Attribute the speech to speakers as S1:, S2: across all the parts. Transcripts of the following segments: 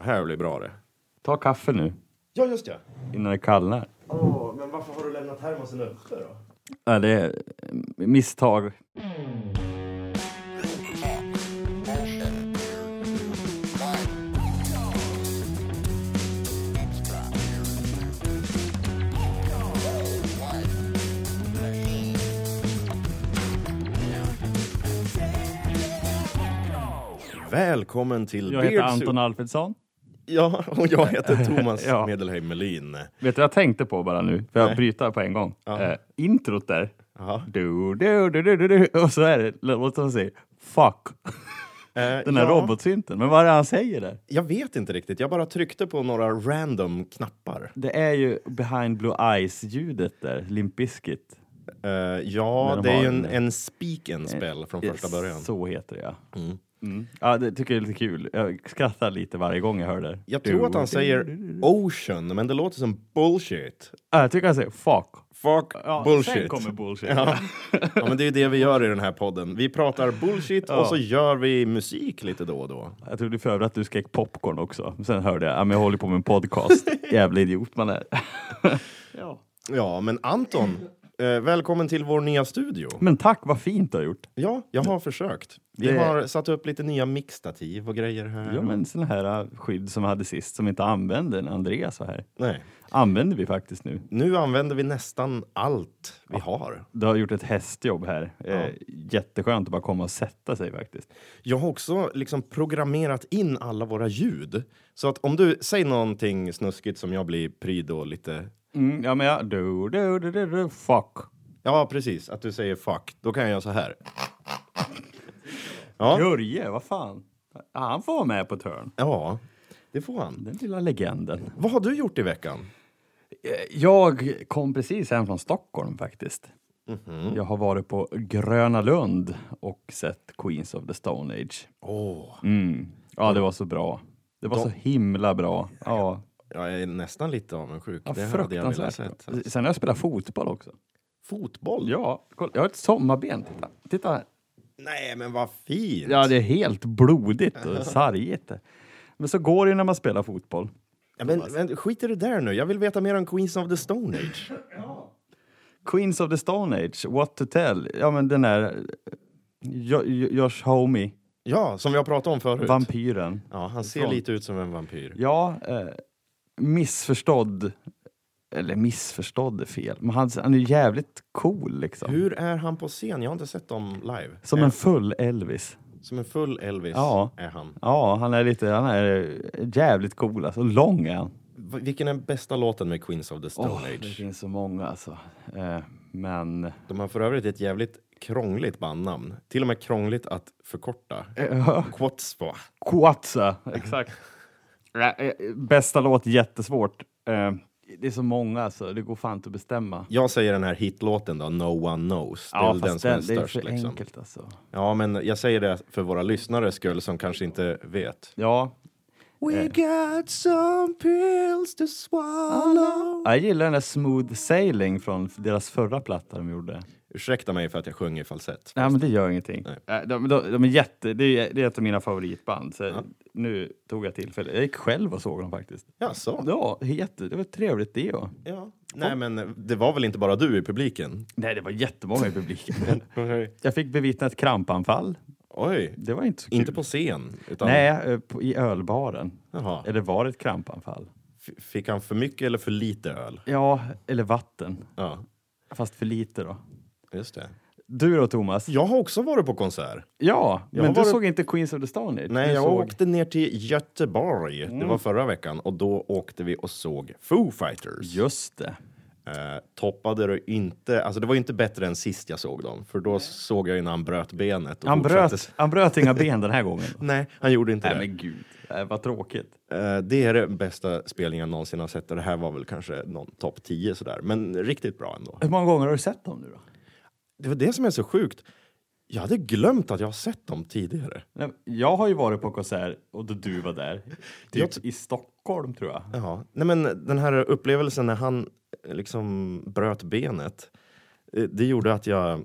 S1: här blir bra det.
S2: Ta kaffe nu,
S3: Ja, just ja.
S2: innan det kallnar.
S3: Åh, men varför har du lämnat termosen uppe då?
S2: Ja, det är eh, misstag.
S1: Välkommen till
S2: Jag heter
S1: Beard
S2: Anton
S1: Soup.
S2: Alfredsson.
S1: Ja, och jag heter Thomas
S2: Ja.
S1: Medelheim Melin.
S2: Vet du vad jag tänkte på bara nu? För jag bryter på en gång. Eh, introt där.
S1: Jaha.
S2: Du, du, du, du, du, du. Och så är det, låt oss säga, fuck.
S1: Eh,
S2: Den här
S1: ja,
S2: robotsynten. Men vad är det han säger där?
S1: Jag vet inte riktigt. Jag bara tryckte på några random knappar.
S2: Det är ju behind blue eyes-ljudet där, Limp Bizkit.
S1: Eh, ja,
S2: de
S1: det är
S2: har
S1: ju en,
S2: en-
S1: en speak and spell från första
S2: Yes,
S1: början.
S2: Så heter det ja. Mm. ja. Det tycker jag är lite kul. Jag skrattar lite varje gång jag hör det.
S1: Jag tror att han säger ocean, men det låter som bullshit.
S2: Ja, jag tycker han säger fuck.
S1: Fuck
S2: Ja, Sen
S1: bullshit.
S2: kommer bullshit.
S1: Ja. ja, men det är ju det vi gör i den här podden. Vi pratar bullshit och så gör vi musik lite då och då.
S2: Jag trodde för övrigt att du skrek popcorn också. Men Sen hörde jag, ja, men jag håller på med en podcast. Jävla idiot man är. ja.
S1: Ja, men Anton, eh, välkommen till vår nya studio.
S2: Men tack, vad fint du har gjort.
S1: Ja, jag har försökt. Vi
S2: Det-
S1: har satt upp lite nya mixtativ och grejer här.
S2: Ja, men sån här äh, skydd som jag hade sist som inte använde när Andreas var här.
S1: Nej.
S2: Använder vi faktiskt nu.
S1: Nu använder vi nästan allt vi har.
S2: Du har gjort ett hästjobb här. Eh, jätteskönt att bara komma och sätta sig faktiskt.
S1: Jag har också liksom programmerat in alla våra ljud. Så att om du säger någonting snuskigt som jag blir pryd och lite...
S2: Mm, ja, men jag... Du, du, du, du, du, fuck.
S1: Ja, precis. Att du säger fuck. Då kan jag göra så här. Ja,
S2: Jörje, vad fan. Han får vara med på törn.
S1: ja det får han.
S2: Den lilla legenden.
S1: Vad har du gjort i veckan?
S2: Eh, Jag kom precis hem från Stockholm faktiskt.
S1: Mhm.
S2: Jag har varit på Gröna Lund och sett Queens of the Stone Age.
S1: Åh,
S2: Mm. Ja, det var så bra. Det var så himla bra. Ja,
S1: jag är nästan lite avundsjuk.
S2: ja
S1: det hade jag velat alltså.
S2: fruktansvärt.
S1: sett.
S2: Sen har jag spelat fotboll också.
S1: Fotboll?
S2: Ja, kolla, jag har ett sommarben. Titta. Titta här.
S1: Nej, men vad fint!
S2: Ja, det är helt blodigt och sargigt. Men så går det ju när man spelar fotboll.
S1: Ja, men, men skit i det där nu. Jag vill veta mer om Queens of the Stone Age.
S2: Queens of the Stone Age, What to tell. Ja, men den där... Jo- Jo- Josh Homie,
S1: Ja, som jag pratade om förut.
S2: vampyren.
S1: ja, han ser
S2: Från-
S1: lite ut som en vampyr.
S2: Ja, eh, missförstådd. Eller missförstådd är fel, men han, han är jävligt cool liksom.
S1: Hur är han på scen? Jag har inte sett dem live.
S2: Som en full Elvis.
S1: Som en full Elvis
S2: Ja.
S1: är han.
S2: Ja, han är lite, han är jävligt cool alltså. Lång är han.
S1: V- Vilken är bästa låten med Queens of the Stone
S2: Åh, det
S1: Age?
S2: finns så många alltså. Eh, men...
S1: De har för övrigt ett jävligt krångligt bandnamn. Till och med krångligt att förkorta. Eh. Quatspa.
S2: Quatsa. Exakt. Eh, Bästa låt, jättesvårt. Eh, det är så många alltså, det går fan inte att bestämma.
S1: Jag säger den här hitlåten då, No One Knows. Det är väl den som är
S2: det är
S1: störst.
S2: för
S1: liksom.
S2: enkelt alltså.
S1: Ja, men jag säger det för våra lyssnares skull som kanske inte vet.
S2: Ja.
S1: We got some pills to swallow
S2: Jag gillar den där Smooth Sailing från deras förra platta de gjorde.
S1: Ursäkta mig för att jag sjunger i falsett.
S2: Nej, men det gör ingenting. Eh, De, de, de är jätte, det, är, det är ett av mina favoritband. Så Nu tog jag tillfället. Jag gick själv och såg dem faktiskt.
S1: Jaså?
S2: Ja, jätte, det var ett trevligt det. Ja.
S1: Ja. Nej, men det var väl inte bara du i publiken?
S2: Nej, det var jättemånga i publiken. jag fick bevittna ett krampanfall.
S1: Oj.
S2: Det var inte så kul.
S1: Inte på scen? Utan,
S2: Nej, eh, på, i ölbaren.
S1: Jaha.
S2: Eller var det ett krampanfall?
S1: F- Fick han för mycket eller för lite öl?
S2: Ja, eller vatten.
S1: Ja,
S2: Fast för lite då.
S1: just det.
S2: Du då Thomas?
S1: Jag har också varit på konsert.
S2: Ja,
S1: Jag
S2: men
S1: har
S2: du
S1: varit-
S2: såg inte Queens of the Stone Age?
S1: Nej,
S2: du
S1: jag
S2: såg...
S1: åkte ner till Göteborg. Det var förra veckan. Och då åkte vi och såg Foo Fighters.
S2: Just det.
S1: Eh, toppade det inte, alltså det var ju inte bättre än sist jag såg dem, för då såg jag ju när han bröt benet. Och
S2: Han bröt,
S1: fortsatte-
S2: han bröt inga ben den här gången.
S1: Nej, han gjorde inte
S2: Nej
S1: det.
S2: men gud, eh, vad tråkigt.
S1: Eh, det är den bästa spelningen jag någonsin har sett och det här var väl kanske någon topp 10 sådär, men riktigt bra ändå.
S2: Hur många gånger har du sett dem nu då?
S1: Det var det som är så sjukt. Jag hade glömt att jag har sett dem tidigare.
S2: Nej, Jag har ju varit på konsert och då du var där.
S1: Jag
S2: Typ i Stockholm tror jag.
S1: Ja, nej men den här upplevelsen när han eh, liksom bröt benet, eh, det gjorde att jag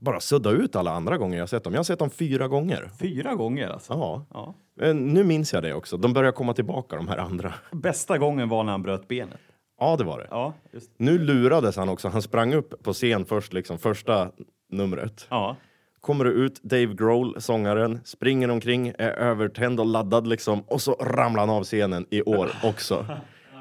S1: bara sudda ut alla andra gånger jag sett dem. Jag har sett dem fyra gånger.
S2: Fyra gånger alltså.
S1: Ja.
S2: Ja.
S1: Eh, Nu minns jag det också. De börjar komma tillbaka, de här andra.
S2: Bästa gången var när han bröt benet.
S1: Ja, det var det.
S2: Ja, just
S1: Nu lurades han också. Han sprang upp på scen först, liksom första numret.
S2: Ja.
S1: Kommer det ut Dave Grohl, sångaren, springer omkring, är övertänd och laddad liksom. Och så ramlar han av scenen i år också.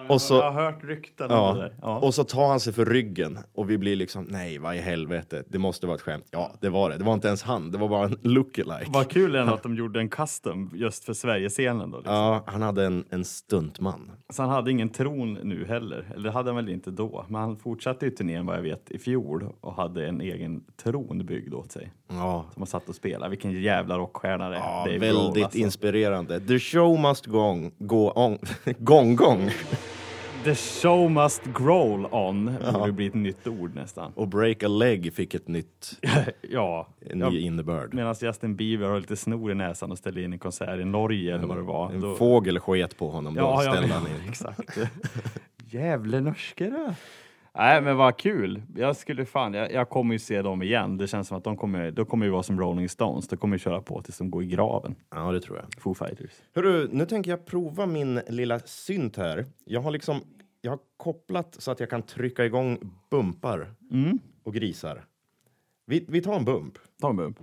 S1: Och så,
S2: Jag har hört rykten om det
S1: Ja.
S2: där. Ja.
S1: Och så tar han sig för ryggen och vi blir liksom nej, vad i helvete, det måste vara ett skämt. Ja, det var det. Det var inte ens han, det var bara en lookalike.
S2: Vad kul ändå att de gjorde en custom just för Sverigescenen då. Liksom.
S1: Ja, han hade en, en stuntman.
S2: Så han hade ingen tron nu heller. Eller det hade han väl inte då. Men han fortsatte ju turnén vad jag vet i fjol och hade en egen tron byggd åt sig.
S1: Ja,
S2: Som han satt och spelade. Vilken jävla rockstjärna det är.
S1: ja
S2: Dave Grohl,
S1: väldigt
S2: alltså.
S1: inspirerande. The show must go on. Go on. gong, gong.
S2: The show must growl on. Borde bli ett nytt ord nästan.
S1: Och break a leg fick ett nytt,
S2: ja.
S1: en
S2: ja.
S1: ny innebörd.
S2: Medan Justin Bieber har lite snor i näsan och ställde in en konsert i Norge eller vad det var.
S1: En
S2: Då-
S1: fågel sket på honom, då ställde han in.
S2: exakt. Jävla norskare. Nej, men vad kul. Jag skulle fan, jag, jag kommer ju se dem igen. Det känns som att de kommer, de kommer ju vara som Rolling Stones. De kommer ju köra på tills de går i graven.
S1: Ja, det tror jag.
S2: Foo Fighters.
S1: Hörru, nu tänker jag prova min lilla synt här. Jag har liksom jag har kopplat så att jag kan trycka igång bumpar och grisar. Vi, vi tar en bump.
S2: Ta en bump.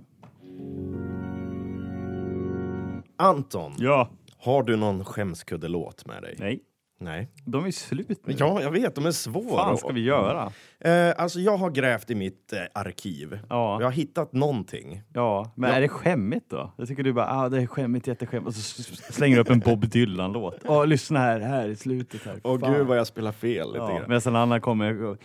S1: Anton,
S2: Ja.
S1: har du någon skämskuddelåt med dig?
S2: Nej,
S1: Nej.
S2: de är ju slut nu.
S1: Ja, jag vet, de är svåra.
S2: fan ska vi göra?
S1: Eh, alltså, jag har grävt i mitt eh, arkiv.
S2: Ja.
S1: Jag har hittat någonting.
S2: Ja, men är det skämmigt då? Jag tycker du bara, ah, det är skämmigt, jätteskämmigt. Och så s- s- slänger du upp en Bob Dylan-låt. Ja, lyssna här, här i slutet här.
S1: Åh
S2: Fan.
S1: gud vad jag spelar fel lite
S2: Ja,
S1: grann.
S2: medan en annan kommer och...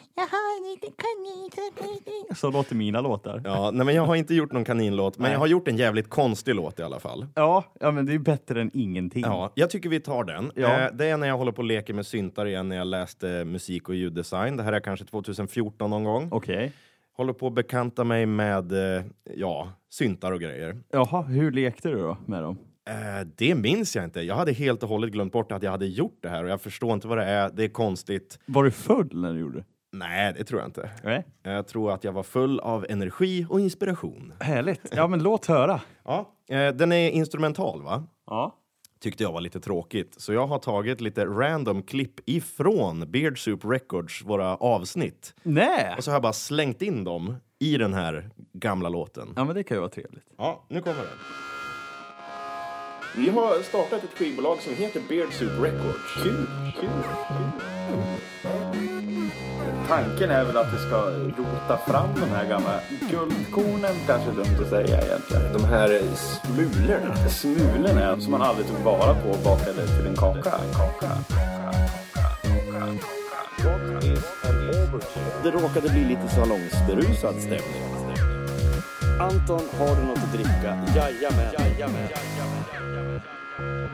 S2: Så låter mina låtar.
S1: Ja, nej, men jag har inte gjort någon kaninlåt, men jag har gjort en jävligt konstig låt i alla fall.
S2: Ja, ja men det är ju bättre än ingenting.
S1: Ja, jag tycker vi tar den.
S2: Mm. Ja.
S1: Eh, det är när jag håller på och leker med syntar igen när jag läste musik och ljuddesign. Det här är kanske 2014 någon gång.
S2: Okej.
S1: Håller på att bekanta mig med, eh, ja, syntar och grejer.
S2: Jaha, hur lekte du då med dem?
S1: Eh, det minns jag inte. Jag hade helt och hållet glömt bort att jag hade gjort det här och jag förstår inte vad det är. Det är konstigt.
S2: Var du full när du gjorde det?
S1: Nej, det tror jag inte.
S2: Nej.
S1: Eh, Jag tror att jag var full av energi och inspiration.
S2: Härligt. Ja, men låt höra.
S1: Ja, eh, den är instrumental, va?
S2: Ja.
S1: tyckte jag var lite tråkigt. Så jag har tagit lite random klipp ifrån Beard Soup Records, våra avsnitt.
S2: Nej!
S1: Och så har jag bara slängt in dem i den här gamla låten.
S2: Ja, men det kan ju vara trevligt.
S1: Ja, nu kommer den. Vi har startat ett skivbolag som heter Beard Soup Records. Kul, kul,
S4: Tanken är väl att vi ska rota fram de här gamla guldkornen, kanske är dumt att säga egentligen.
S1: De här smulorna.
S4: Smulorna som man aldrig tog vara på och bakade till en kaka.
S1: Det råkade bli lite salongsberusad stämning. Anton, har du något att dricka? Jajamän.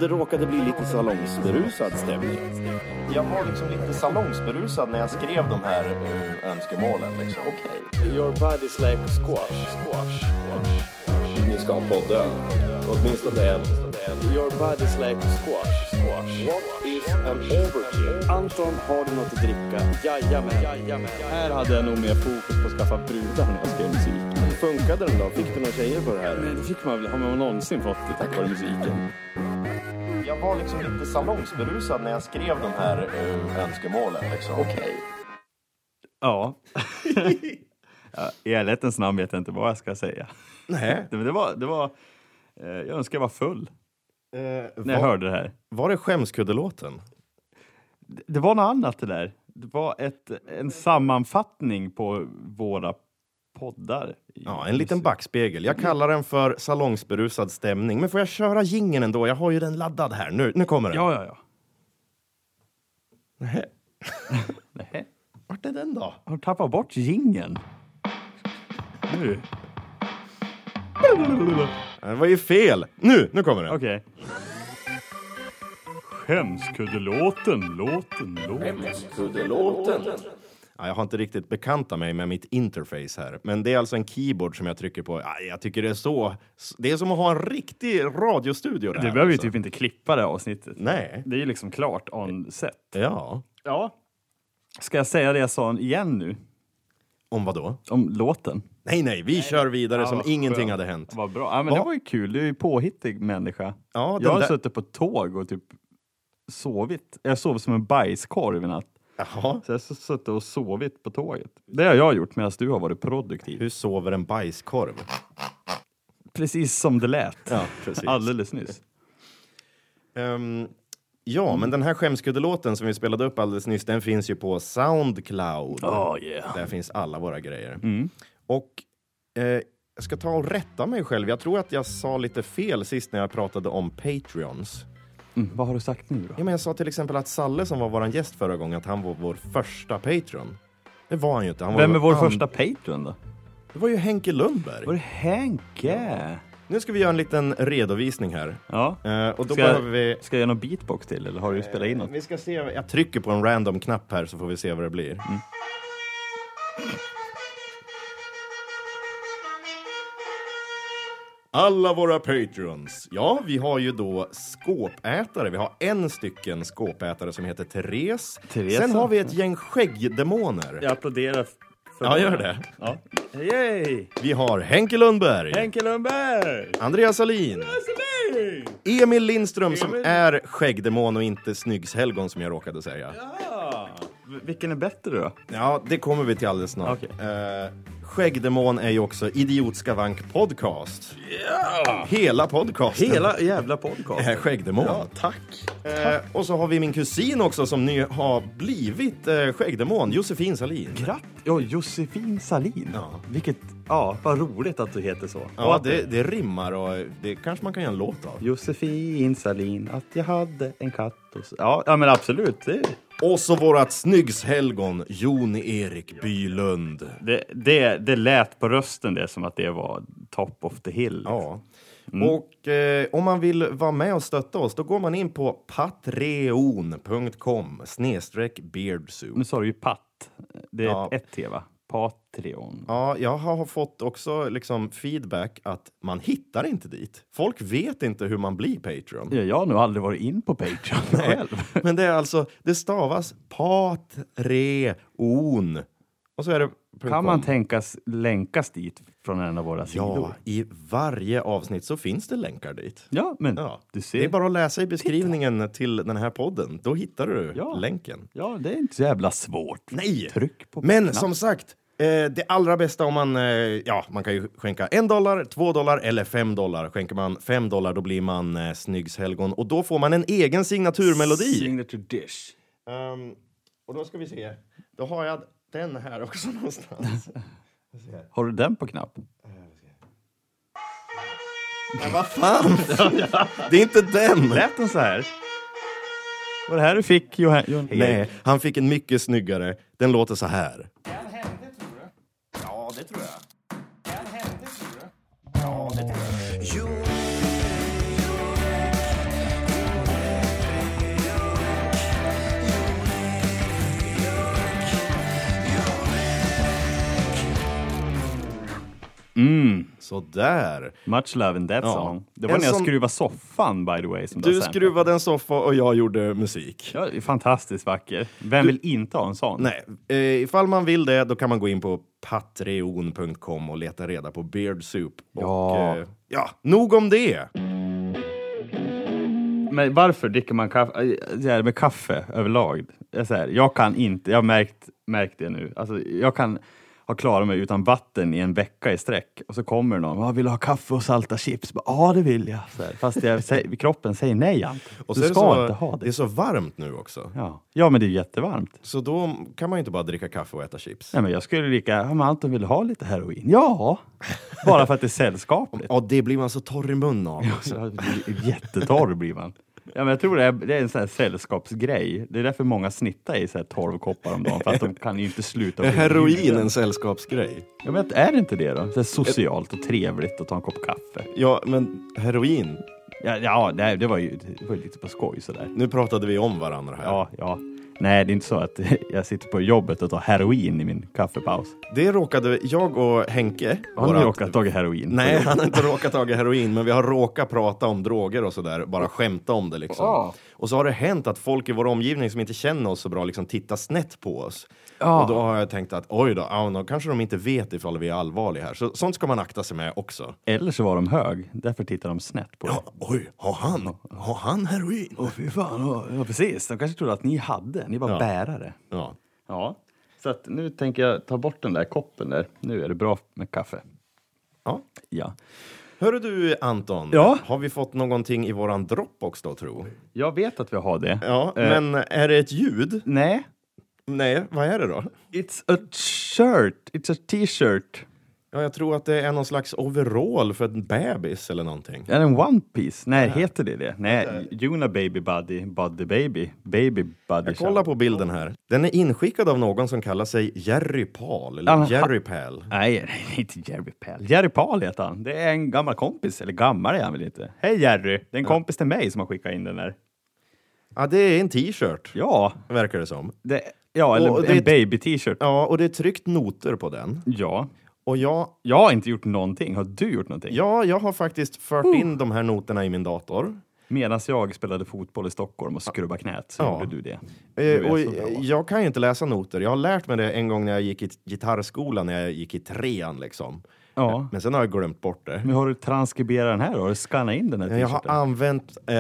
S1: Det råkade bli lite salongsberusad stämning. Jag var liksom lite salongsberusad när jag skrev de här eh, önskemålen. Liksom. Okej.
S3: Your body's like squash, squash, squash.
S1: Ni ska ha podden. Åtminstone en.
S3: Your body's like squash, squash. What is an overkill? Anton, har du något att dricka? Jajamän, jajamän.
S4: Här hade jag nog mer fokus på att skaffa brudar när jag skrev musik.
S1: Hur funkade den då? Fick du några tjejer på det här?
S4: Men det fick man väl, har man någonsin fått det tack vare musiken?
S1: Jag var liksom lite salongsberusad när jag skrev de här eh, önskemålen. Liksom. Okej.
S2: Ja. ja I ärlighetens namn vet jag inte vad jag ska säga.
S1: Nej.
S2: Det, men det var... Det var eh, jag önskar jag var full
S1: Eh,
S2: när jag
S1: var,
S2: hörde det här.
S1: var det skämskuddelåten?
S2: Det, det var något annat det där. Det var ett, en sammanfattning på våra poddar.
S1: Ja, en liten backspegel. Jag kallar den för salongsberusad stämning. Men får jag köra gingen ändå? Jag har ju den laddad här. Nu, nu kommer den.
S2: Ja, ja, ja.
S1: Nähä.
S2: Nej.
S1: Vart är den då?
S2: Har du tappat bort gingen? Nu.
S1: Det var ju fel. Nu, nu kommer den.
S2: Okej. Skämskuddelåten, låten, låten.
S1: Ja, jag har inte riktigt bekantat mig med mitt interface här. Men det är alltså en keyboard som jag trycker på. Ja, jag tycker det är så... Det är som att ha en riktig radiostudio. Det
S2: Du
S1: här,
S2: behöver ju
S1: alltså.
S2: typ inte klippa det här avsnittet.
S1: Nej.
S2: Det är ju liksom klart on set.
S1: Ja.
S2: Ja. Ska jag säga det jag sa igen nu?
S1: Om vad då?
S2: Om låten.
S1: Nej, nej, vi kör vidare
S2: Ja,
S1: som
S2: vad
S1: ingenting
S2: skönt.
S1: hade hänt.
S2: Vad bra. Ja, men
S1: Ja.
S2: Det var ju kul. Du är ju påhittig människa.
S1: Ja, den
S2: jag har
S1: där-
S2: suttit på tåg och typ sovit. Jag sov som en bajskorv i natt.
S1: Jaha.
S2: Så jag har suttit och sovit på tåget. Det har jag gjort medan du har varit produktiv.
S1: Hur sover en bajskorv?
S2: Precis som det lät
S1: Ja, precis.
S2: alldeles nyss.
S1: Ehm, ja, men den här skämskuddelåten som vi spelade upp alldeles nyss, den finns ju på Soundcloud.
S2: Oh, yeah.
S1: Där finns alla våra grejer.
S2: Mm.
S1: Och eh, jag ska ta och rätta mig själv. Jag tror att jag sa lite fel sist när jag pratade om Patreons.
S2: mm, vad har du sagt nu då?
S1: Ja, men jag sa till exempel att Salle som var vår gäst förra gången, att han var vår första Patreon. Det var han ju inte. Han var
S2: Vem är vår
S1: an-
S2: första Patreon då?
S1: Det var ju Henke Lundberg.
S2: Var det Henke?
S1: Nu ska vi göra en liten redovisning här.
S2: Ja.
S1: Eh, och då
S2: Ska
S1: behöver vi...
S2: jag, ska jag göra någon beatbox till eller har du spelat in något?
S1: Vi ska se, jag trycker på en random knapp här så får vi se vad det blir. Alla våra patreons. Ja, vi har ju då skåpätare. Vi har en stycken skåpätare som heter Therese.
S2: Therese.
S1: Sen har vi ett gäng skäggdemoner.
S2: Jag applåderar. För
S1: Ja, gör det.
S2: Ja. Yay!
S1: Vi har Henke Lundberg,
S2: Henke Lundberg!
S1: Andreas Alin, Emil Lindström som är skäggdemon och inte snyggshelgon som jag råkade säga.
S2: Vilken är bättre då?
S1: Ja, det kommer vi till alldeles snart.
S2: Okej.
S1: Eh, Skäggdemon är ju också Idiotskavank podcast. Hela Eh, podcasten
S2: Hela jävla podcast.
S1: är Skäggdemon.
S2: tack.
S1: Eh, och så har vi min kusin också som nu har blivit eh, Skäggdemon, Josefin Salin.
S2: Grattis! Ja, Josefin Salin.
S1: Ja.
S2: Vilket, ja, vad roligt att du heter så. Och
S1: Ja,
S2: att-
S1: det, det rimmar och det kanske man kan göra en låt av.
S2: Josefin Salin, att jag hade en katt och så. Ja, ja men absolut. Det,
S1: Och så vårat snyggshelgon Jon-Erik Bylund.
S2: det, det, det lät på rösten det som att det var top of the hill.
S1: Ja. Och eh, om man vill vara med och stötta oss då går man in på patreon.com snedstreck beardsoup.
S2: Nu sa du ju Patt. Det är
S1: Ja.
S2: ett T va? Patreon.
S1: Ja, jag har fått också liksom feedback att man hittar inte dit. Folk vet inte hur man blir Patreon.
S2: Ja, Jag har nog aldrig varit in på Patreon själv.
S1: Men det är alltså, det stavas Patreon. Och så är det
S2: Kan man
S1: .com.
S2: tänkas länkas dit från en av våra sidor?
S1: Ja, i varje avsnitt så finns det länkar dit.
S2: Ja, men
S1: Ja.
S2: du ser.
S1: Det är bara att läsa i beskrivningen till den här podden. Då hittar du
S2: Ja.
S1: länken.
S2: Ja, det är inte så jävla svårt.
S1: Nej!
S2: Tryck på
S1: Men
S2: knappen.
S1: som sagt, eh, det allra bästa om man... Eh, ja, man kan ju skänka en dollar, två dollar eller fem dollar. Skänker man fem dollar då blir man eh, snyggshelgon och då får man en egen signaturmelodi.
S2: Signature dish.
S1: Ehm, och då ska vi se. Då har jag den här också någonstans.
S2: Har du den på knapp?
S1: Men vad fan! det är inte den!
S2: Lät den så här? Var det här du fick Johan? Johan
S1: Nej, han fick en mycket snyggare. Den låter så här. Så där.
S2: Much love in that
S1: Ja.
S2: song. Det var
S1: En
S2: när jag
S1: sån-
S2: skruvade soffan by the way. Som
S1: Du
S2: har samplat.
S1: skruvade en soffa och jag gjorde musik.
S2: Ja, det är fantastiskt vacker. Vem vill inte ha en sån?
S1: Nej, eh, ifall man vill det då kan man gå in på patreon.com och leta reda på Beard Soup. Och,
S2: Ja.
S1: eh, ja, nog om det.
S2: Men varför dricker man kaffe? äh, Det här med kaffe överlag. Jag, är så här, jag kan inte, jag har märkt, märkt det nu. Alltså, jag kan ha klarat mig utan vatten i en vecka i sträck och så kommer någon. "Ah, Vill du ha kaffe och salta chips? Bara, Ja, det vill jag. Så här, fast jag, säger, kroppen säger nej, Ante.
S1: Och
S2: Du
S1: så är
S2: ska
S1: det så,
S2: inte ha
S1: Det är
S2: det.
S1: så varmt nu också.
S2: Ja. ja, men det är ju jättevarmt.
S1: Så då kan man ju inte bara dricka kaffe och äta chips.
S2: Nej, men jag skulle lika, ja, men Anton vill ha lite heroin. Ja, bara för att det är sällskapligt.
S1: Ja, det blir man så torr i munnen av.
S2: Så jag blir Jättetorr blir man. Ja, men jag tror det är, det är en sån här sällskapsgrej. Det är därför många snittar i så här 12 koppar om dagen, för att de kan ju inte sluta. bli
S1: Heroin
S2: bjuden.
S1: en sällskapsgrej?
S2: Ja, men är det inte det då? Så här socialt och trevligt att ta en kopp kaffe.
S1: Ja, men heroin.
S2: Ja, ja nej, det var ju det var ju lite på skoj sådär.
S1: Nu pratade vi om varandra här.
S2: Ja, ja. Nej, det är inte så att jag sitter på jobbet och tar heroin i min kaffepaus.
S1: Det råkade jag och Henke...
S2: Har ni
S1: vårat-
S2: råkat ta heroin?
S1: Nej, han har inte råkat ta heroin, men vi har råkat prata om droger och sådär. Bara skämta om det liksom. Och så har det hänt att folk i vår omgivning som inte känner oss så bra liksom tittar snett på oss.
S2: Ja.
S1: Och då har jag tänkt att oj då, ja, då kanske de inte vet ifall vi är allvarliga här. Så, sånt ska man akta sig med också.
S2: Eller så var de hög, därför tittar de snett på dig.
S1: Ja, oj, har han, har han heroin?
S2: Åh, fy fan. åh, Ja, precis. De kanske trodde att ni hade, ni var
S1: Ja.
S2: bärare.
S1: Ja.
S2: Ja, så att nu tänker jag ta bort den där koppen där. Nu är det bra med kaffe.
S1: ja.
S2: Ja.
S1: Hörru du Anton,
S2: Ja?
S1: har vi fått någonting i våran Dropbox då tro?
S2: Jag vet att vi har det.
S1: Ja, men är det ett ljud?
S2: Nej,
S1: Nej, vad är det då?
S2: it's a shirt, it's a t-shirt.
S1: Ja, jag tror att det är någon slags overall för en bebis eller någonting.
S2: Är det en one piece? Nej, heter det det? Nej, Juna baby buddy, buddy baby, baby buddy.
S1: Jag kollar på bilden här. Den är inskickad av någon som kallar sig Jerry Paul, eller
S2: Ja, men ha-
S1: Jerry Pal.
S2: Nej, nej, inte Jerry Pell. Jerry Paul heter han. Det är en gammal kompis, eller gammal är han väl inte? Hej Jerry! Det är en kompis till mig som har skickat in den här.
S1: Ja, det är en t-shirt,
S2: Ja,
S1: verkar det som.
S2: det, ja eller
S1: Och det är
S2: en
S1: ett-
S2: baby t-shirt.
S1: Ja, och det är tryckt noter på den.
S2: Ja.
S1: Och jag,
S2: Jag har inte gjort någonting. Har du gjort någonting?
S1: ja, jag har faktiskt fört
S2: Oh.
S1: in de här noterna i min dator.
S2: Medan jag spelade fotboll i Stockholm och skrubbade knät så
S1: Ja.
S2: gjorde du det. Du
S1: Eh,
S2: är
S1: och
S2: så bra.
S1: jag kan ju inte läsa noter. Jag har lärt mig det en gång när jag gick i gitarrskolan, när jag gick i trean liksom.
S2: Ja.
S1: Men sen har jag glömt bort det.
S2: Men har du transkriberat den här då? Har du skannat in den här
S1: Jag har
S2: t-shirten?
S1: använt, eh,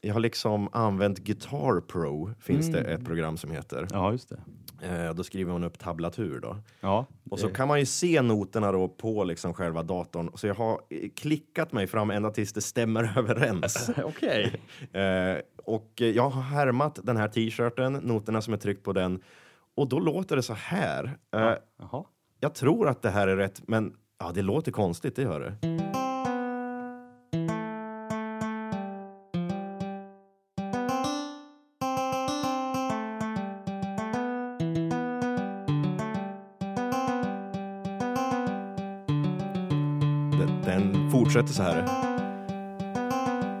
S1: jag har liksom använt Guitar Pro, finns det ett program som heter.
S2: Ja, just det.
S1: Eh, då skriver man upp tablatur då.
S2: Ja.
S1: Och så kan man ju se noterna då på liksom själva datorn. Så jag har eh, klickat mig fram ända tills det stämmer överens.
S2: Okej.
S1: Eh, och eh, jag har härmat den här t-shirten, noterna som är tryckt på den. Och då låter det så här. Eh,
S2: Jaha.
S1: Jag tror att det här är rätt, men ja, det låter konstigt, det gör det. Den- Den fortsätter så här.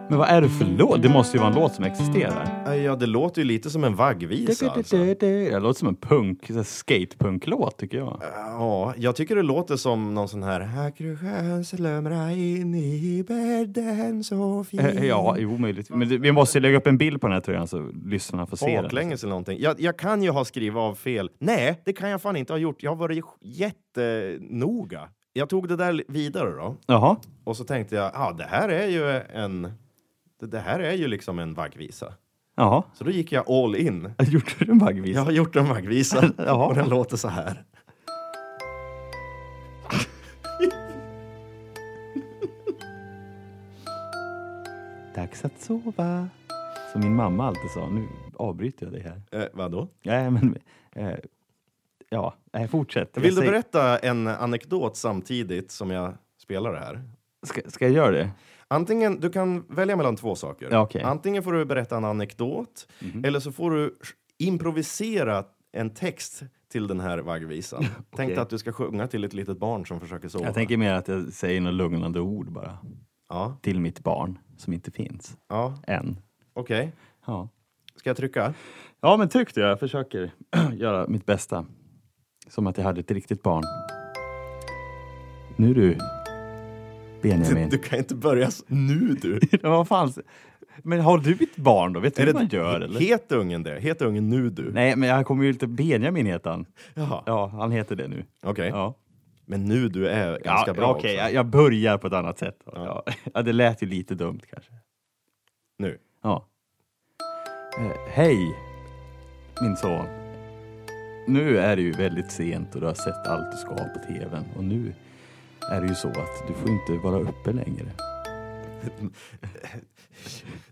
S2: Men vad är det för låt? Det måste ju vara en låt som existerar.
S1: Eh, Ja, det låter ju lite som en vaggvisa. Alltså.
S2: Det låter som en punk, så här skatepunklåt tycker jag.
S1: Ja, jag tycker det låter som någon sån här... Här krökans slumra in i bädden så fin.
S2: Eh, Ja, jo, möjligt. Men det- vi måste ju lägga upp en bild på den här tröjan så lyssnarna får se den. liksom.
S1: Baklänges eller någonting. Jag, jag kan ju ha skrivit av fel. Nej, det kan jag fan inte ha gjort. Jag har varit jättenoga. Jag tog det där vidare då.
S2: Jaha.
S1: Och så tänkte jag, ah, det här är ju en... Det, det här är ju liksom en vaggvisa.
S2: Jaha.
S1: Så då gick jag all in.
S2: Gjorde du en vaggvisa?
S1: Jag har gjort en vaggvisa
S2: Jaha.
S1: och den låter så här.
S2: Dags att sova. Som min mamma alltid sa. Nu avbryter jag dig här.
S1: Eh, vadå?
S2: Nej, men... Eh, ja, nej, fortsätt.
S1: Vill
S2: Jag
S1: du
S2: säger-
S1: berätta en anekdot samtidigt som jag spelar det här?
S2: Ska, ska jag göra det?
S1: Antingen, du kan välja mellan två saker.
S2: Ja, okej. Mhm.
S1: Antingen får du berätta en anekdot eller så får du improvisera en text till den här vaggvisan. Tänk dig att du ska sjunga till ett litet barn som försöker sova.
S2: Jag tänker mer att jag säger några lugnande ord bara.
S1: Ja,
S2: Till mitt barn som inte finns
S1: ja
S2: än.
S1: okej.
S2: Ja,
S1: Ska jag trycka?
S2: ja men tyckte jag. Jag försöker göra mitt bästa. Som att jag hade ett riktigt barn. Nu du, Benjamin.
S1: Du kan inte börja s- nu du.
S2: Ja, vad fan. Men har du ett barn då? Vet du hur man gör? Eller?
S1: Heter ungen det? Heter ungen nu du?
S2: Nej, men han kommer ju lite... Benjamin heter han.
S1: Jaha,
S2: Ja, han heter det nu.
S1: okej.
S2: Ja.
S1: Men nu du är ganska bra
S2: okej,
S1: också.
S2: jag, jag börjar på ett annat sätt. då. Ja. Ja, det lät ju lite dumt kanske.
S1: Nu.
S2: Ja. Eh, hej, min son. Nu är det ju väldigt sent och du har sett allt du ska ha på tvn. Och nu är det ju så att du får inte vara uppe längre.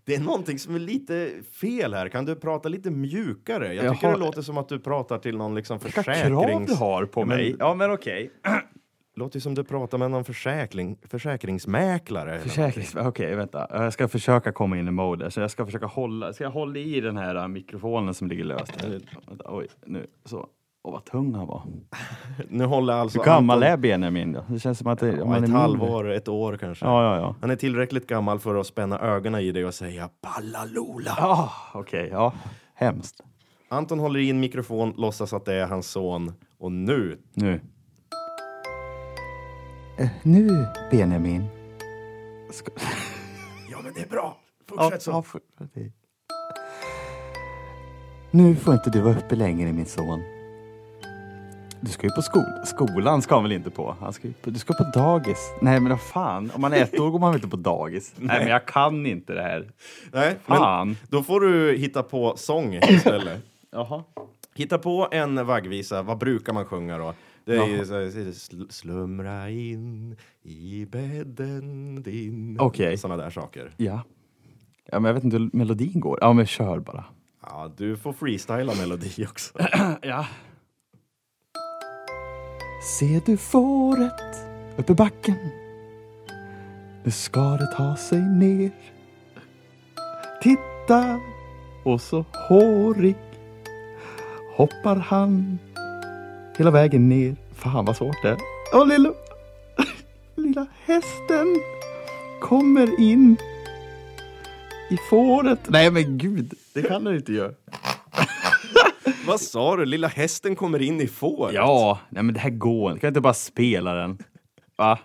S1: Det är någonting som är lite fel här. Kan du prata lite mjukare? Jag
S2: Jag
S1: tycker
S2: har-
S1: det låter som att du pratar till någon liksom
S2: Krav
S1: försäkrings...
S2: du har på
S1: Ja, men-
S2: mig. Ja, men okej.
S1: låter ju som du pratar med någon försäkring... försäkringsmäklare. eller-
S2: Försäkrings... Okej, vänta. Jag ska försöka komma in i mode. Så jag ska försöka hålla... Ska jag hålla i den här äh, mikrofonen som ligger löst? här? Vänta, oj, nu. Så. Åh, vad tung han var.
S1: Nu håller alltså
S2: Hur gammal
S1: Anton-
S2: är Benjamin då? Det känns som att det, om
S1: Ja,
S2: han är
S1: ett
S2: mindre-
S1: halvår, ett år kanske.
S2: Ja, ja, ja.
S1: Han är tillräckligt gammal för att spänna ögonen i dig och säga Ballalola.
S2: Ah, Okej, ja. Hemskt.
S1: Anton håller i en mikrofon, låtsas att det är hans son. Och nu,
S2: Nu. Eh, nu, Benjamin. Ska...
S1: ja men det är bra. Fortsätt så.
S2: för... Nu får inte du vara uppe längre min son. Du ska ju på skol. skolan ska han väl inte på? Han ska ju på. Du ska på dagis. Nej men vad fan, om man är ett år går man väl inte på dagis? Nej men jag kan inte det här.
S1: Nej,
S2: Fan.
S1: men då får du hitta på sång istället.
S2: Jaha.
S1: Hitta på en vaggvisa. Vad brukar man sjunga då? Det är ju så här, sl- slumra in i bädden din.
S2: Okej.
S1: Såna där saker.
S2: Ja. Ja men jag vet inte hur melodin går. Ja men kör bara.
S1: Ja, du får freestyla melodi också.
S2: Ja. Se du fåret uppe i backen. Nu ska det ta sig ner. Titta! Och så hårig hoppar han hela vägen ner. Fan vad svårt det är. Och lilla, lilla hästen kommer in i fåret. Nej men gud, det kan du inte göra.
S1: Vad sa du? Lilla hästen kommer in i fåret?
S2: Ja, nej men det här går inte. Kan jag inte bara spela den? Va?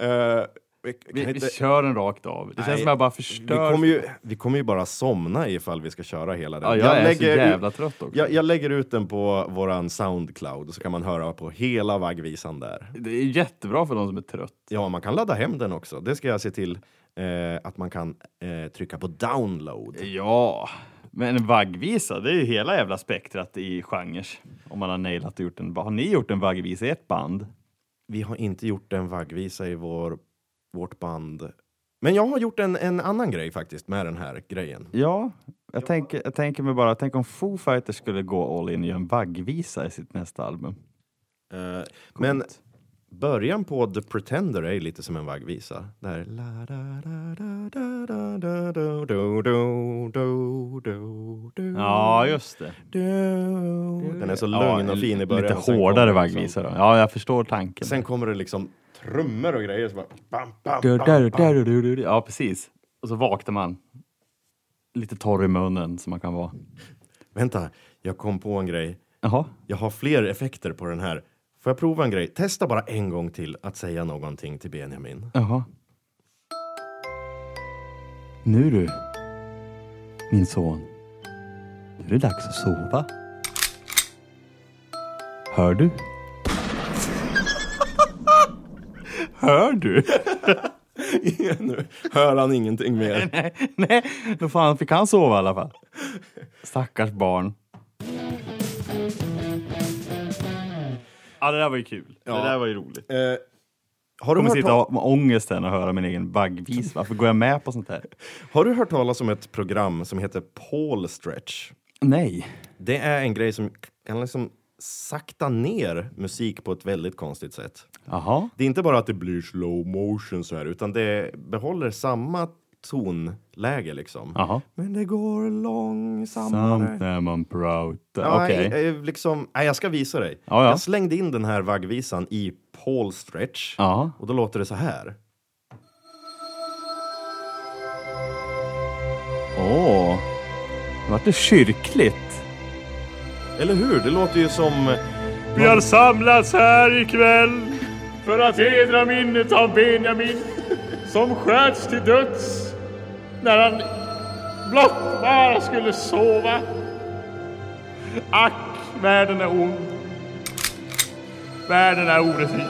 S1: Eh, vi,
S2: Vi,
S1: kan
S2: vi
S1: inte,
S2: kör den rakt av. Det känns
S1: Nej,
S2: som jag bara
S1: vi,
S2: förstör.
S1: kommer ju, vi kommer ju bara somna ifall vi ska köra hela den.
S2: ja, jag, är
S1: ut-
S2: så jävla trött också.
S1: jag, jag lägger ut den på våran Soundcloud så kan man höra på hela vaggvisan där.
S2: Det är jättebra för de som är trött.
S1: Ja, man kan ladda hem den också. Det ska jag se till eh, att man kan eh, trycka på download.
S2: Ja, men en vaggvisa, det är ju hela jävla spektrat i genrer. Om man har nailat och gjort en... Har ni gjort en vaggvisa i ett band?
S1: Vi har inte gjort en vaggvisa i vår, vårt band. Men jag har gjort en, en annan grej faktiskt med den här grejen.
S2: Ja, jag, Tänker, jag tänker mig bara, tänk om Foo Fighters skulle gå all in och göra en vaggvisa i sitt nästa album.
S1: Eh, men början på The Pretender är ju lite som en vaggvisa. Där.
S2: Ja, just det.
S1: Den är så lugn
S2: ja,
S1: och fin i början.
S2: Lite
S1: Sen kommer
S2: hårdare
S1: liksom-
S2: vaggvisa då. Ja, jag förstår tanken.
S1: Sen kommer det liksom trummor och grejer. Så bara, bam, bam,
S2: Du,
S1: bam.
S2: du, du, du, du, du. Ja, precis. Och så vaknar man. Lite torr i munnen som man kan vara.
S1: Vänta, jag kom på en grej.
S2: Jaha.
S1: Jag har fler effekter på den här. Får jag prova en grej? Testa bara en gång till att säga någonting till Benjamin.
S2: Jaha. Nu du, min son. Nu är det dags att sova. Hör du? Hör du?
S1: nu hör han ingenting mer.
S2: Nej, då fan fick han sova i alla fall. Stackars barn. Ja, det där var ju kul.
S1: Ja.
S2: Det där var ju roligt. Jag
S1: Eh, har, du
S2: kommer
S1: hört
S2: sitta
S1: tal-
S2: och- med ångesten och höra min egen baggvis. Varför går jag med på sånt här?
S1: har du hört talas om ett program som heter Paul Stretch?
S2: Nej.
S1: Det är en grej som kan liksom sakta ner musik på ett väldigt konstigt sätt.
S2: Jaha.
S1: Det är inte bara att det blir slow motion så här, utan det behåller samma tonläge liksom.
S2: Jaha.
S1: Men det går långsammare.
S2: Samt när man pratar.
S1: Ja,
S2: Okej.
S1: jag- jag- liksom, nej, jag ska visa dig.
S2: Ja, ja.
S1: Jag slängde in den här vaggvisan i Paul Stretch
S2: Ja.
S1: och då låter det så här.
S2: Åh. Nu vart det kyrkligt.
S1: Eller hur? Det låter ju som...
S5: Vi har samlats här ikväll för att hedra minnet av Benjamin som sköts till döds när han blott bara skulle sova. Ack, världen är ond. Världen är orättvis.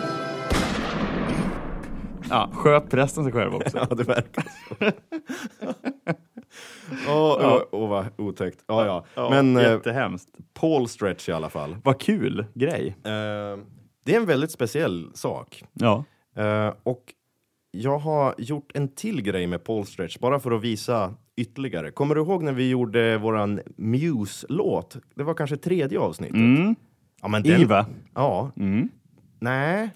S2: Ja, sköt prästen sig själv också.
S1: Ja, det verkar så. Åh, åh, åh, vad otäckt. Ja, ja. Men eh,
S2: Jättehemskt.
S1: Paul Stretch i alla fall.
S2: Vad kul grej.
S1: Eh, det är en väldigt speciell sak.
S2: Ja.
S1: Eh, och jag har gjort en till grej med Paul Stretch, bara för att visa ytterligare. Kommer du ihåg när vi gjorde våran Muse-låt? Det var kanske tredje avsnittet. Ja, men den,
S2: Iva.
S1: Ja. Nej,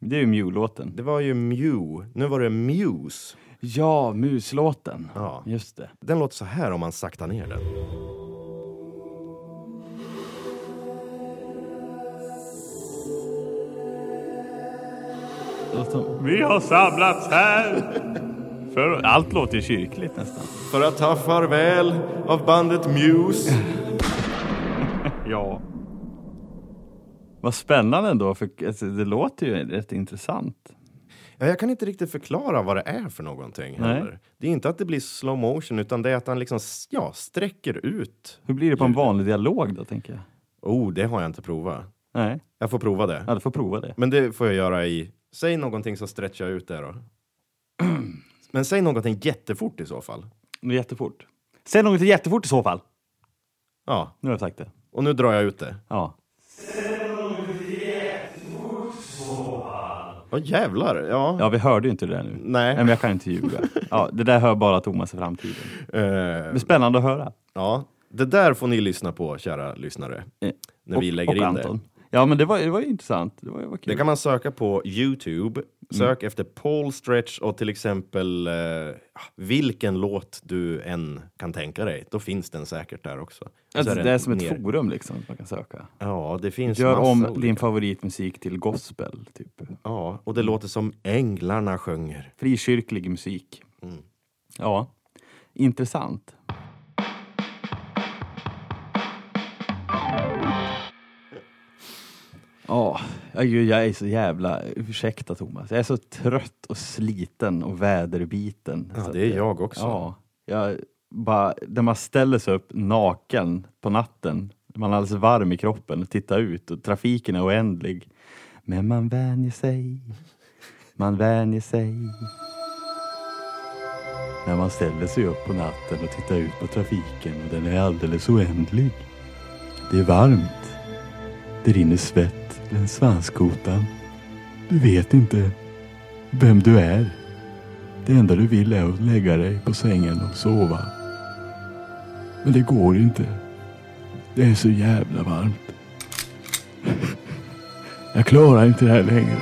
S2: Det är ju Mew-låten.
S1: det var ju Mew. Nu var det Muse.
S2: Ja, muslåten.
S1: Ja.
S2: Just det.
S1: Den låter så här om man saktar ner den.
S2: Alltså,
S5: Vi har samlats här
S2: För, allt låter ju kyrkligt nästan.
S1: För att ta farväl av bandet Muse.
S2: Ja. Vad spännande ändå, för alltså, det låter ju rätt intressant.
S1: Ja, jag kan inte riktigt förklara vad det är för någonting.
S2: Nej.
S1: heller. Det är inte att det blir slow motion utan det är att han liksom s- ja, sträcker ut.
S2: Hur blir det på en vanlig dialog då, tänker jag?
S1: Oh, det har jag inte provat.
S2: Nej,
S1: Jag får prova det.
S2: ja, du får prova det.
S1: Men det får jag göra i... Säg någonting så stretchar jag ut det då. Men säg någonting jättefort i så fall.
S2: Men jättefort. Säg något jättefort i så fall.
S1: Ja,
S2: Nu har jag sagt det.
S1: och nu drar jag ut det.
S2: Ja.
S1: Åh jävlar! Ja.
S2: ja, vi hörde ju inte det där nu.
S1: Nej.
S2: Men jag kan inte ljuga. Ja, det där hör bara Thomas i framtiden.
S1: Eh,
S2: Det är spännande att höra.
S1: ja. Det där får ni lyssna på, kära lyssnare.
S2: Eh,
S1: När vi lägger
S2: och
S1: in det.
S2: Anton. Ja, men det var, det var ju intressant. Det var, det var kul.
S1: Det kan man söka på Youtube. Sök efter Paul Stretch och till exempel eh, vilken låt du än kan tänka dig. Då finns den säkert där också. Och så
S2: alltså,
S1: är den
S2: det är som
S1: ner.
S2: ett forum liksom, man kan söka.
S1: Ja, det finns
S2: Gör
S1: Alltså massa
S2: om
S1: olika.
S2: din favoritmusik till gospel, typ.
S1: Ja, och det låter som änglarna sjunger.
S2: Frikyrklig musik.
S1: Mm.
S2: Ja, intressant. Ja, ja, gud, jag är så jävla, ursäkta Thomas, jag är så trött och sliten och väderbiten.
S1: Ja,
S2: Så
S1: det är
S2: att-
S1: jag också.
S2: Ja, jag bara, när man ställer sig upp naken på natten, man är alldeles varm i kroppen och tittar ut och trafiken är oändlig. Men man vänjer sig, man vänjer sig. När man ställer sig upp på natten och tittar ut på trafiken och den är alldeles oändlig. Det är varmt. Det rinner svett längs svanskotan. Du vet inte vem du är. Det enda du vill är att lägga dig på sängen och sova. Men det går inte. Det är så jävla varmt. Jag klarar inte det här längre.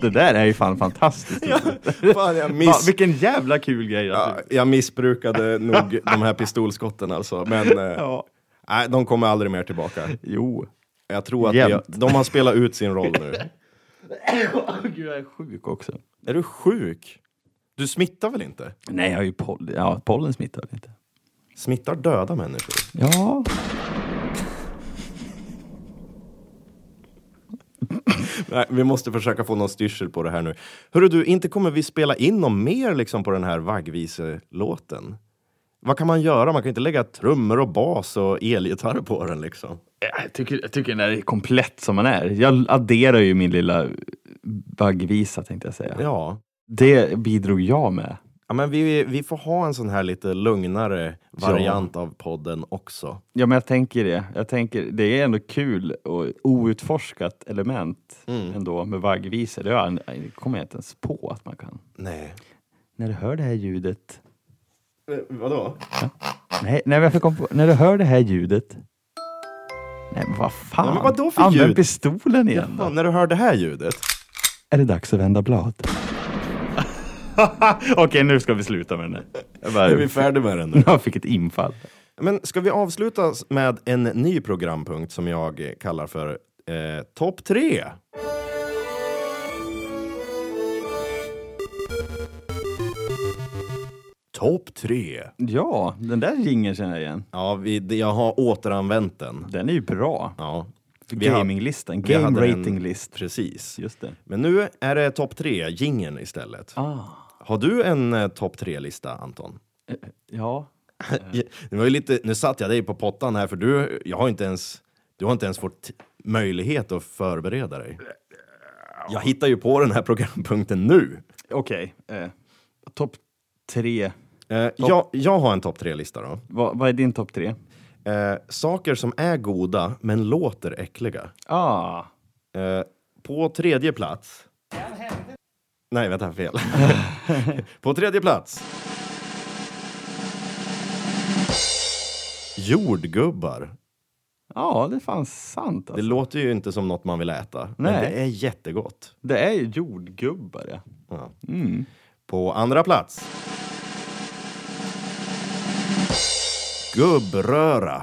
S2: Det där är ju fan fantastiskt.
S1: Fan, jag,
S2: Ja,
S1: miss...
S2: vilken jävla kul grej!
S1: ja,
S2: Alltså.
S1: jag missbrukade nog de här pistolskotten alltså. Men eh,
S2: Ja.
S1: nej, de kommer aldrig mer tillbaka.
S2: Jo.
S1: Jag tror att
S2: Jämt.
S1: vi, de har spelat ut sin roll nu.
S2: Gud, jag är sjuk också.
S1: Är du sjuk? Du smittar väl inte?
S2: Nej, jag har ju poll- ja, pollen smittar väl inte.
S1: Smittar döda människor?
S2: Ja.
S1: Nej, vi måste försöka få någon styrsel på det här nu. Hörru du, inte kommer vi spela in någon mer liksom på den här vaggviselåten? Vad kan man göra? Man kan inte lägga trummor och bas och elgitarr på den liksom.
S2: Jag tycker, jag tycker den där är komplett som man är. Jag adderar ju min lilla baggvisa tänkte jag säga.
S1: Ja,
S2: Det bidrog jag med.
S1: ja men vi, vi får ha en sån här lite lugnare variant av podden också.
S2: Ja, men jag tänker det. Jag tänker, det är ändå kul och outforskat element
S1: Mm.
S2: ändå med vaggvisor. Det, har jag- det kommer jag inte ens på att man kan.
S1: Nej.
S2: När du hör det här ljudet.
S1: Eh, vadå?
S2: Nej, nej men jag fick komma på, när du hör det här ljudet. Nej, men vad fan?
S1: Ja, men vadå för
S2: Använd
S1: ljud?
S2: pistolen igen då.
S1: Ja, när du hör det här ljudet.
S2: Är det dags att vända blad? Okej, nu ska vi sluta med den här. Jag bara-
S1: Är vi färdiga med den nu?
S2: Jag fick ett infall.
S1: Men ska vi avsluta s- med en ny programpunkt som jag eh, kallar för eh, Topp 3? Topp 3.
S2: Ja, den där jingeln känner jag igen.
S1: Ja, vi, det- jag har återanvänt den.
S2: Den är ju bra.
S1: Ja, Vi hade-
S2: Gaminglistan,
S1: vi hade
S2: game
S1: den-
S2: rating list.
S1: precis.
S2: Just det.
S1: Men nu är det topp 3 gingen istället.
S2: Ah,
S1: Har du en eh, topp 3-lista, Anton?
S2: ja.
S1: Det var ju lite, nu satt jag dig på pottan här, för du, jag har inte ens, du har inte ens fått möjlighet att förbereda dig. Jag hittar ju på den här programpunkten nu.
S2: Okej. Eh, topp tre.
S1: Eh, jag, jag har en topp tre-lista då.
S2: Va, vad är din topp tre?
S1: Eh, saker som är goda, men låter äckliga.
S2: Ah,
S1: Eh, på tredje plats... Nej, vänta, fel. på tredje plats... Jordgubbar.
S2: ja, det är fan sant.
S1: Det
S2: Alltså.
S1: låter ju inte som något man vill äta, men
S2: Nej.
S1: det är jättegott.
S2: Det är ju jordgubbar, ja.
S1: Ja.
S2: Mm.
S1: På andra plats. Gubbröra.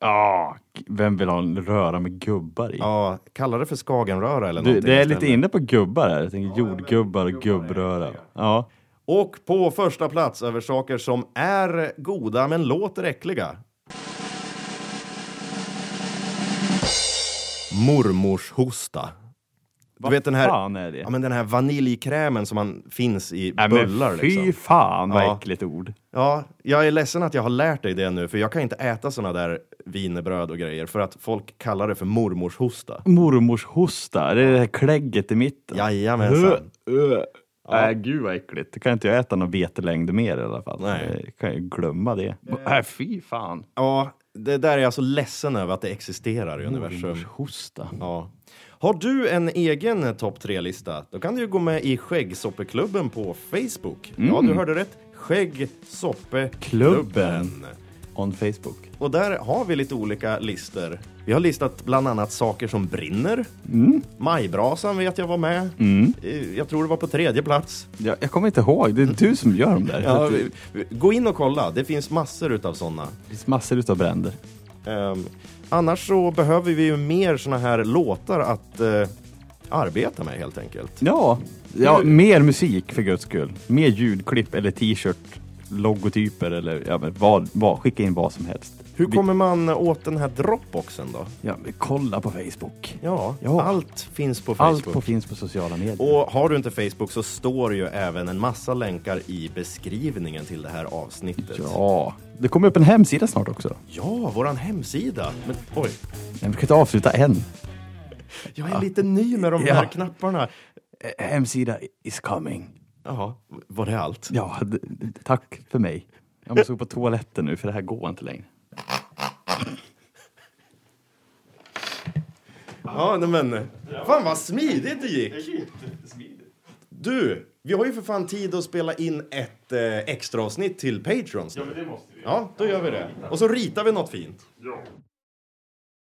S2: Ah, g- vem vill ha en röra med gubbar i?
S1: Ja, kalla det för skagenröra eller
S2: Du,
S1: någonting
S2: det är
S1: istället.
S2: lite inne på gubbar här. Jag tänker jordgubbar och gubbröra. Ja.
S1: Och på första plats över saker som är goda men låter äckliga. Mormors hosta. Du vet den här,
S2: fan är det?
S1: Ja, men den här vaniljkrämen som man finns i
S2: Nej, men
S1: bullar
S2: fy
S1: liksom.
S2: fan vad
S1: Ja.
S2: äckligt ord.
S1: Ja, jag är ledsen att jag har lärt dig det nu, för jag kan inte äta såna där wienerbröd och grejer för att folk kallar det för mormors hosta.
S2: Mormors hosta, det är det här klägget i mitten.
S1: Jajamensan.
S2: Uh, uh. Nej, gud vad äckligt. Då kan inte jag äta någon vetelängd mer i alla fall.
S1: Nej.
S2: Jag kan ju glömma det. Nej, Äh, fy fan.
S1: Ja, det där är jag så ledsen över att det existerar i universum.
S2: Hosta.
S1: Ja. Har du en egen eh, topp tre-lista? Då kan du ju gå med i Skäggsoppeklubben på Facebook. Ja,
S2: Mm.
S1: du hörde rätt. Skäggsoppeklubben.
S2: Klubben. On Facebook.
S1: Och där har vi lite olika listor. Vi har listat bland annat saker som brinner.
S2: Mm.
S1: Majbrasan vet jag var med. Eh, Jag tror det var på tredje plats.
S2: Jag, jag kommer inte ihåg, det är du som gör dem där.
S1: Ja,
S2: det
S1: vi- vi- Gå in och kolla, det finns massor utav sådana.
S2: finns massor utav bränder.
S1: Ehm, annars så behöver vi ju mer såna här låtar att eh, arbeta med helt enkelt.
S2: Ja, ja mer musik för guds skull. Mer ljudklipp eller t-shirt, logotyper eller ja, men vad, vad, skicka in vad som helst.
S1: Hur kommer man åt den här Dropboxen då?
S2: Ja, men kolla på Facebook.
S1: Ja,
S2: Ja.
S1: allt finns på Facebook.
S2: Allt på, finns på sociala medier.
S1: Och har du inte Facebook så står ju även en massa länkar i beskrivningen till det här avsnittet.
S2: Ja, det kommer upp en hemsida snart också.
S1: Ja, våran hemsida! Men oj,
S2: Men vi kan inte avsluta än.
S1: jag är lite ny med de
S2: Ja.
S1: här knapparna.
S2: Eh, Hemsida is coming.
S1: Jaha, var det allt?
S2: Ja, d- d- tack för mig. Jag måste gå på toaletten nu för det här går inte längre.
S1: Ja, nej men. eh, Fan vad smidigt det gick! Du, vi har ju för fan tid att spela in ett eh, extra avsnitt till Patrons. Ja, men det måste vi. Ja, då gör vi det. Och så ritar vi något fint.